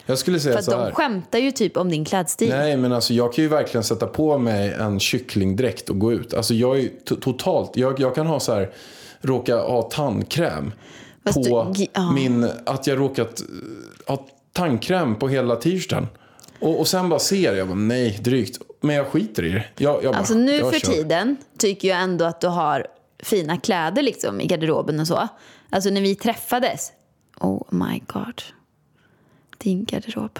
Jag skulle
För
säga
att
så här.
de skämtar ju typ om din klädstil.
Nej, men alltså jag kan ju verkligen sätta på mig en kycklingdräkt och gå ut. Alltså jag är ju to- totalt, jag, jag kan ha så här, råka ha tandkräm
Fast
på
du- gi- ja.
min, att jag råkat eh, ha tandkräm på hela tisdagen. Och, och sen bara ser jag, bara, nej drygt, men jag skiter i det. Jag, jag bara,
Alltså nu
jag
för
kör.
tiden tycker jag ändå att du har fina kläder liksom i garderoben och så. Alltså när vi träffades. Oh my god. Din garderob.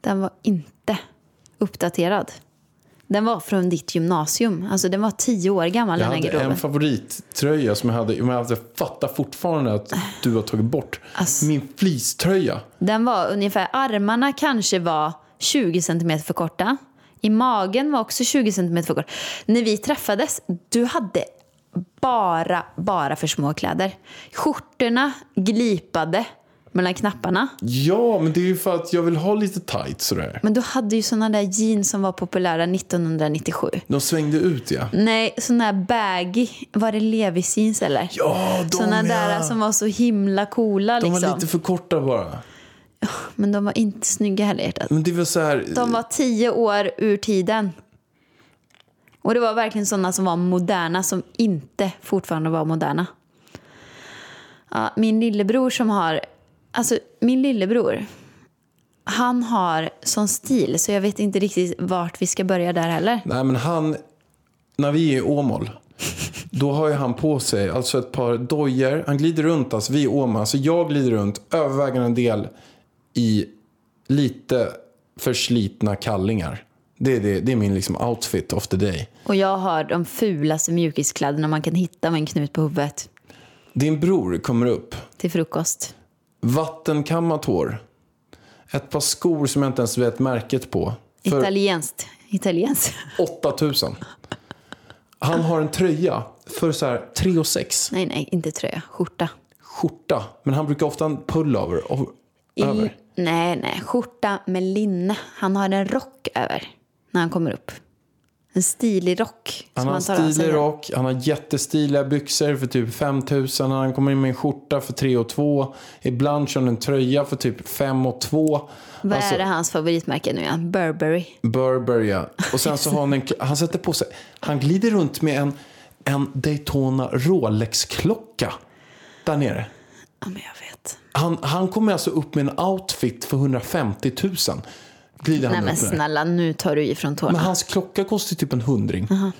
Den var inte uppdaterad. Den var från ditt gymnasium. Alltså den var tio år gammal
Jag
den här
hade
garderoben.
en favorittröja som jag hade, men alltså, jag fattar fortfarande att du har tagit bort.
Alltså.
Min fleecetröja.
Den var ungefär, armarna kanske var 20 cm för korta. I magen var också 20 cm för kort. När vi träffades, du hade bara, bara för små kläder. Skjortorna glipade mellan knapparna.
Ja, men det är ju för att jag vill ha lite tight sådär.
Men du hade ju såna där jeans som var populära 1997.
De svängde ut ja.
Nej, såna där baggy. Var det Levi's jeans eller?
Ja, de
såna
ja.
där som var så himla coola
De
liksom.
var lite för korta bara.
Men de var inte snygga heller hjärtat.
Men det var så här.
De var tio år ur tiden. Och det var verkligen sådana som var moderna som inte fortfarande var moderna. Ja, min lillebror som har, alltså min lillebror, han har sån stil så jag vet inte riktigt vart vi ska börja där heller.
Nej men han, när vi är i Åmål, då har ju han på sig alltså ett par dojer. Han glider runt, alltså vi är i Åmål, alltså jag glider runt övervägande del i lite förslitna kallingar. Det är, det, det är min liksom outfit of the day.
Och jag har de fulaste mjukiskläderna man kan hitta med en knut på huvudet
Din bror kommer upp,
till frukost.
vattenkammat hår, ett par skor som jag inte ens vet märket på. För-
Italienskt. Italienskt?
8000. Han har en tröja för så här 3 och 6.
Nej, nej, inte tröja. Skjorta.
Skjorta. Men han brukar ofta ha en pullover. Och,
I-
över.
Nej, nej. Skjorta med linne. Han har en rock över när han kommer upp. En stilig rock.
Han
som
har en
tar av sig.
stilig rock. Han har jättestiliga byxor för typ 5000. Han kommer in med en skjorta för 3 och 2. Ibland kör han en tröja för typ 5 och 2.
Vad
Alltså-
är det hans favoritmärke nu igen? Burberry.
Burberry, ja. Och sen så har han en... Han sätter på sig... Han glider runt med en, en Daytona Rolex-klocka. Där nere.
Ja, men jag vet.
Han, han kommer alltså upp med en outfit för 150 000. Glider
Nej,
han
men
upp med.
snälla, nu tar du i från tårna.
Men hans klocka kostar ju typ en hundring.
ja,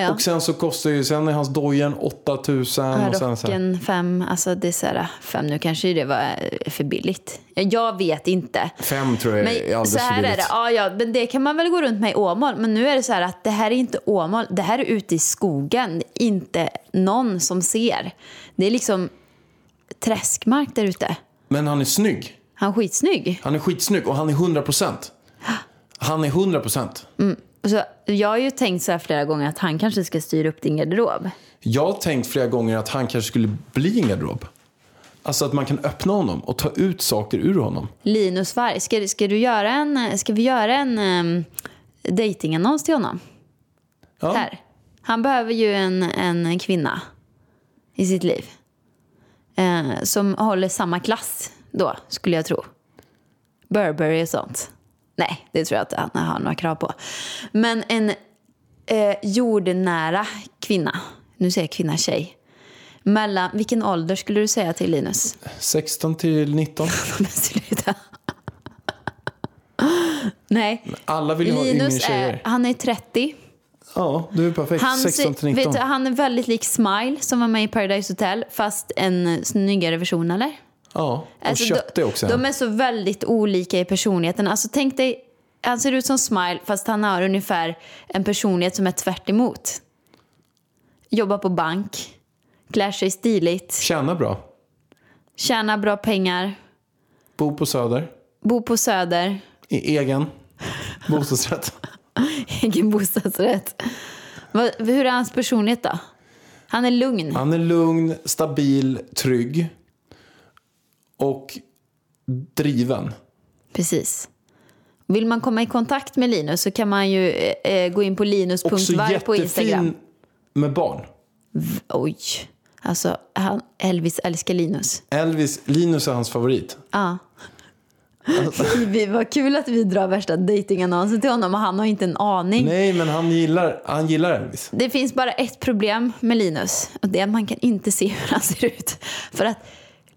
ja.
Och sen så kostar ju, sen är hans dojen 8 000. Och sen
Ja,
så här,
rocken fem, alltså det är så här, fem nu kanske det var eh, för billigt. Jag vet inte.
Fem tror jag är
Men
alldeles
så här
för
är det,
billigt.
ja, ja, men det kan man väl gå runt med i Åmål. Men nu är det så här att det här är inte Åmål, det här är ute i skogen. Det är Inte någon som ser. Det är liksom träskmark där ute.
Men han är snygg.
Han är skitsnygg.
Han är skitsnygg och han är 100 procent. Han är 100 procent.
Så jag har ju tänkt så här flera gånger att han kanske ska styra upp din garderob.
Jag har tänkt flera gånger att han kanske skulle bli en garderob. Alltså att man kan öppna honom och ta ut saker ur honom.
Linus Varg, ska, ska, du göra en, ska vi göra en um, dejtingannons till honom?
Ja.
Här. Han behöver ju en, en kvinna i sitt liv. Eh, som håller samma klass då, skulle jag tro. Burberry och sånt. Nej, det tror jag inte han har några krav på. Men en eh, jordnära kvinna. Nu säger jag kvinna, tjej. Mellan, vilken ålder skulle du säga till Linus?
16 till 19.
Men sluta. Nej.
Alla vill ju ha yngre
Linus är,
tjejer.
han är 30.
Ja, du är perfekt.
Han,
16 till
ser-
19.
vet du, han är väldigt lik Smile som var med i Paradise Hotel fast en eh, snyggare version eller?
Ja, och
Alltså,
köttig
de,
också.
De är så väldigt olika i personligheten. Alltså tänk dig, han ser ut som Smile fast han har ungefär en personlighet som är tvärt emot. Jobbar på bank, klär sig stiligt,
Tjänar bra.
tjänar bra pengar,
Bo på Söder.
Bo på Söder,
I egen bostadsrätt.
egen bostadsrätt. Vad, hur är hans personlighet då? Han är lugn.
Han är lugn, stabil, trygg. Och driven.
Precis. Vill man komma i kontakt med Linus så kan man ju eh, eh, gå in på
Också
linus.varg på Instagram.
jättefin med barn.
Oj. Alltså, han, Elvis älskar Linus.
Elvis, Linus är hans favorit.
Ja.
Alltså.
Vi, vad kul att vi drar värsta dejtingannonsen till honom och han har inte en aning.
Nej, men han gillar, han gillar Elvis.
Det finns bara ett problem med Linus och det är att man kan inte se hur han ser ut. För att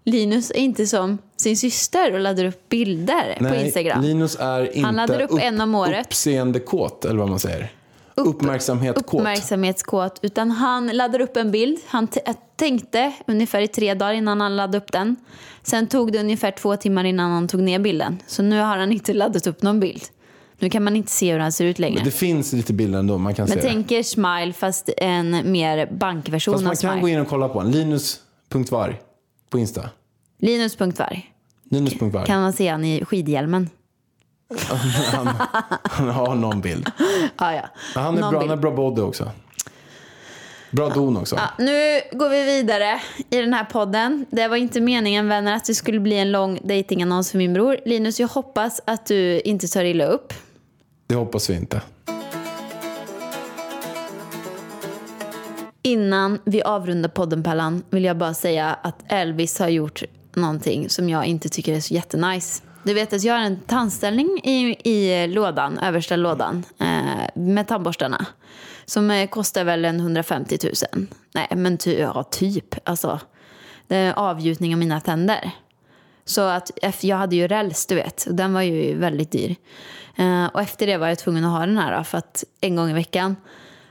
Linus är inte som sin syster och laddar upp bilder på
Nej,
Instagram.
Linus är inte
laddar upp en om året.
uppseendekåt, eller vad man säger. Uppmärksamhetkåt.
uppmärksamhetskåt. Utan han laddar upp en bild. Han t- jag tänkte ungefär i tre dagar innan han laddade upp den. Sen tog det ungefär två timmar innan han tog ner bilden. Så nu har han inte laddat upp någon bild. Nu kan man inte se hur han ser ut längre.
det finns lite bilder ändå, man kan
Men
se
tänk er Smile fast en mer
det.
bankversion
Fast
av
man kan gå
Smile.
in och kolla på den. Linus.varg på Insta.
Linus.varg.
Linus.varg.
Kan man se han i skidhjälmen?
Han har någon bild.
Ah, ja.
Men Han är,
Någon
bra, han
bild.
är bra body också. Bra don också.
Ja, nu går vi vidare i den här podden. Det var inte meningen vänner att det skulle bli en lång dejtingannons för min bror. Linus, jag hoppas att du inte tar illa upp.
Det hoppas vi inte.
Innan vi avrundar podden Pallan vill jag bara säga att Elvis har gjort någonting som jag inte tycker är så jättenice. Du vet att jag har en tandställning i, i lådan, översta lådan, eh, med tandborstarna. Som eh, kostar väl en 150 000. Nej, men ty, ja, typ. Alltså, det är avgjutning av mina tänder. Så att eff- jag hade ju räls, du vet. Och den var ju väldigt dyr. Eh, och efter det var jag tvungen att ha den här då, för att en gång i veckan.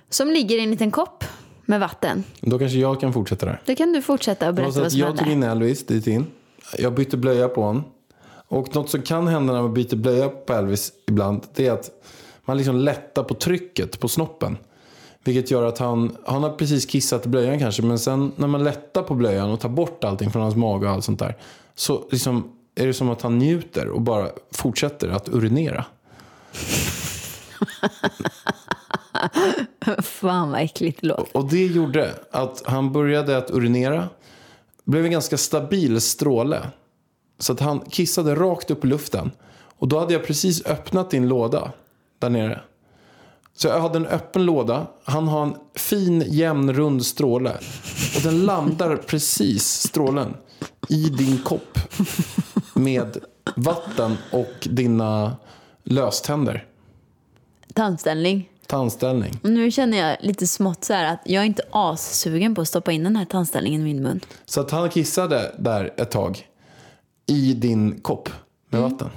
Som ligger i en liten kopp med vatten.
Då kanske jag kan fortsätta där.
Då kan du fortsätta och
Det var
berätta
så
vad
att
som
jag tog
hände.
in Elvis dit in. Jag bytte blöja på honom. Och något som kan hända när man byter blöja på Elvis ibland. Det är att man liksom lättar på trycket på snoppen. Vilket gör att han, han har precis kissat i blöjan kanske. Men sen när man lättar på blöjan och tar bort allting från hans mage och allt sånt där. Så liksom är det som att han njuter och bara fortsätter att urinera.
Fan vad äckligt det låg.
Och det gjorde att han började att urinera. Blev en ganska stabil stråle. Så att han kissade rakt upp i luften. Och då hade jag precis öppnat din låda där nere. Så jag hade en öppen låda. Han har en fin, jämn, rund stråle. Och den landar precis, strålen, i din kopp. Med vatten och dina löständer.
Tandställning.
Tandställning.
Och nu känner jag lite smått så här att jag är inte assugen på att stoppa in den här tandställningen i min mun.
Så att han kissade där ett tag i din kopp med vatten.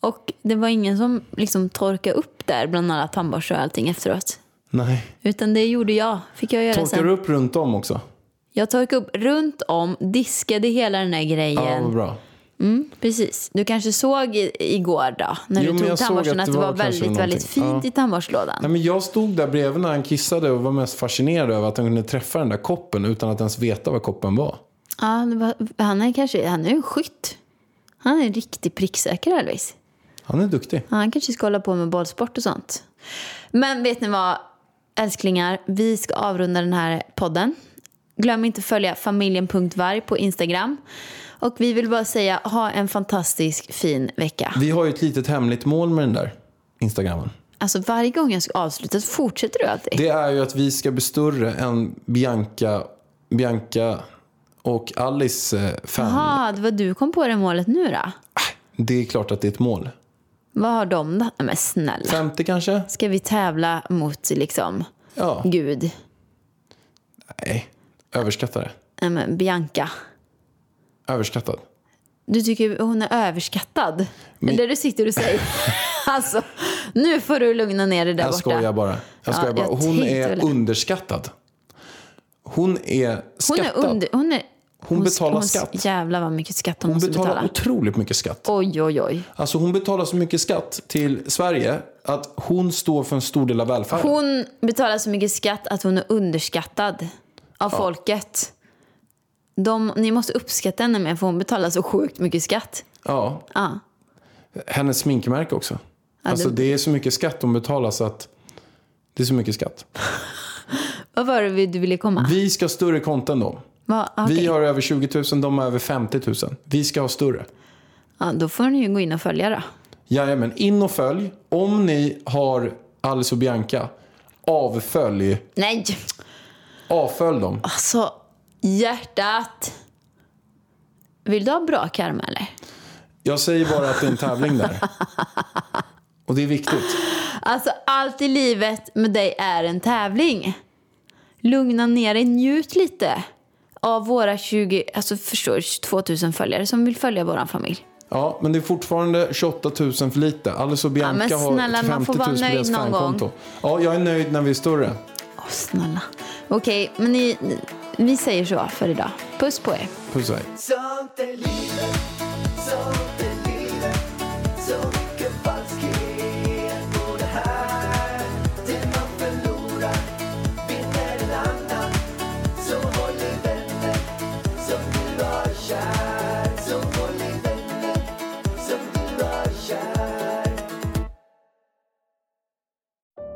Och det var ingen som liksom torkade upp där bland alla tandborstar och allting efteråt.
Nej.
Utan det gjorde jag. Fick jag göra
Torkar
sen.
du upp runt om också?
Jag torkade upp runt om, diskade hela den här
Ja,
grejen.
vad bra.
Mm, precis. Du kanske såg i, igår då, när
Jo, men
du tog
jag såg
tandborsten,
att
att
det
det var,
var kanske
väldigt, väldigt fint
någonting. Ja.
i tandborstlådan.
Nej, men jag stod där bredvid när han kissade och var mest fascinerad över att han kunde träffa den där koppen utan att ens veta vad koppen var.
Ja, det var, han är kanske han är en skytt. Han är en riktig pricksäker Elvis.
Han är duktig.
Han kanske ska hålla på med bollsport och sånt. Men vet ni vad, älsklingar? Vi ska avrunda den här podden. Glöm inte att följa familjen.varg på Instagram. Och vi vill bara säga, ha en fantastisk fin vecka.
Vi har ju ett litet hemligt mål med den där Instagrammen.
Alltså varje gång jag ska avsluta så fortsätter du alltid.
Det är ju att vi ska bli större än Bianca, Bianca och Alice eh, fan.
Jaha, det var du kom på det målet nu då?
Det är klart att det är ett mål.
Vad har de då? Nej, Men snälla.
50 kanske?
Ska vi tävla mot liksom
Ja.
Gud?
Nej. Överskattade.
Nej, men Bianca.
Överskattad.
Du tycker hon är överskattad?
Men-
Det du sitter och säger. alltså, nu får du lugna ner dig där
Jag
borta.
skojar bara. Jag skojar
Ja,
bara.
jag
Hon
tänkte
är
väl-
underskattad. Hon är
Hon
skattad.
är under... Hon, är,
Hon betalar skatt.
Jävlar vad mycket skatt hon,
Hon
måste
betalar
betala.
otroligt mycket skatt.
Oj, oj, oj.
Alltså hon betalar så mycket skatt till Sverige att hon står för en stor del av välfärden.
Hon betalar så mycket skatt att hon är underskattad av folket. De, ni måste uppskatta henne mer för hon betalar så sjukt mycket skatt.
Ja.
Ja.
Hennes sminkmärke också.
Ja,
alltså
det-
det är så mycket skatt de betalar så att det är så mycket skatt.
Vad var det vi- du ville komma?
Vi ska ha större konto än dem.
Va, okej.
Vi har över 20 000, de har över 50 000. Vi ska ha större.
ja, då får ni ju gå in och följa då.
Jajamän, in och följ. Om ni har Alice och Bianca, avfölj.
Nej,
Avfölj dem.
alltså hjärtat. Vill du ha bra karma eller?
Jag säger bara att det är en tävling där. Och det är viktigt.
Alltså allt i livet med dig är en tävling. Lugna ner dig, njut lite av våra 20, alltså förstår 2000 följare som vill följa vår familj.
Ja, men det är fortfarande 28 000 för lite. Alice och Bianca
men snälla,
har 50
man
000
får vara
på
nöjd
deras
någon gång.
fankonto. Ja, jag är nöjd när vi är större.
Åh snälla. Okej, men ni, ni- vi säger så för idag. Puss på er.
Puss och hej.
Sånt är livet, sånt är livet Så mycket falskhet på det här Det man förlorar vinner en annan Så håll i vänner som du har kär Så håll i vänner som du har kär